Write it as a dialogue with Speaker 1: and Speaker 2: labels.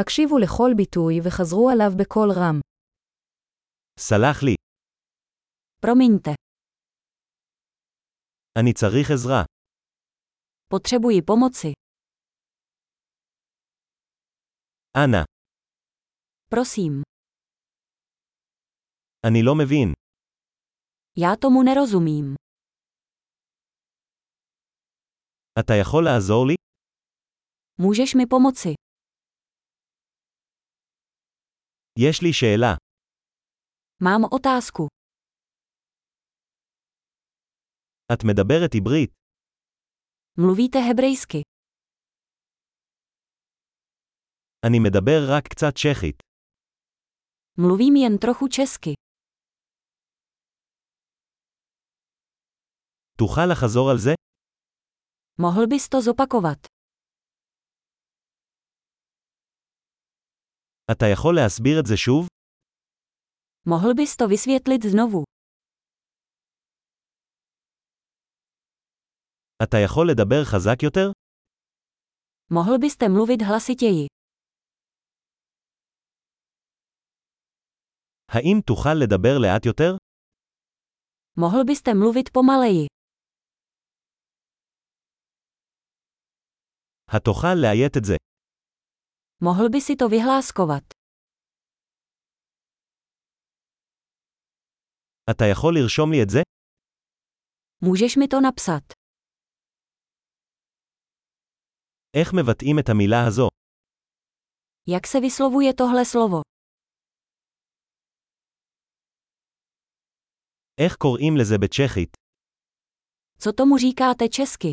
Speaker 1: הקשיבו לכל ביטוי וחזרו עליו בקול רם.
Speaker 2: סלח לי,
Speaker 1: Promiňte,
Speaker 2: אני צריך עזרה.
Speaker 1: potřebuji pomoci.
Speaker 2: אנא,
Speaker 1: Prosím,
Speaker 2: אני לא מבין.
Speaker 1: já tomu nerozumím.
Speaker 2: אתה יכול לעזור לי?
Speaker 1: Můžeš mi pomoci?
Speaker 2: יש לי שאלה.
Speaker 1: Mám otázku.
Speaker 2: את מדברת עברית.
Speaker 1: Mluvíte hebrejsky?
Speaker 2: אני מדבר רק קצת צ'כית.
Speaker 1: Mluvím jen trochu česky.
Speaker 2: תוכל לחזור על זה?
Speaker 1: Mohl bys to zopakovat?
Speaker 2: אתה יכול להסביר את זה שוב?
Speaker 1: Mohl bys to vysvětlit znovu?
Speaker 2: אתה יכול לדבר חזק יותר?
Speaker 1: Mohl byste mluvit hlasitěji?
Speaker 2: האם תוכל לדבר לאט יותר?
Speaker 1: Mohl byste mluvit pomaleji?
Speaker 2: התוכל לאיית את זה.
Speaker 1: Mohl by si to vyhláskovat?
Speaker 2: אתה יכול לרשום לי את זה?
Speaker 1: Můžeš mi to napsat?
Speaker 2: איך מבטאים את המילה הזו?
Speaker 1: Jak se vyslovuje tohle slovo?
Speaker 2: איך קוראים לזה בצ'כית?
Speaker 1: Co tomu říkáte česky?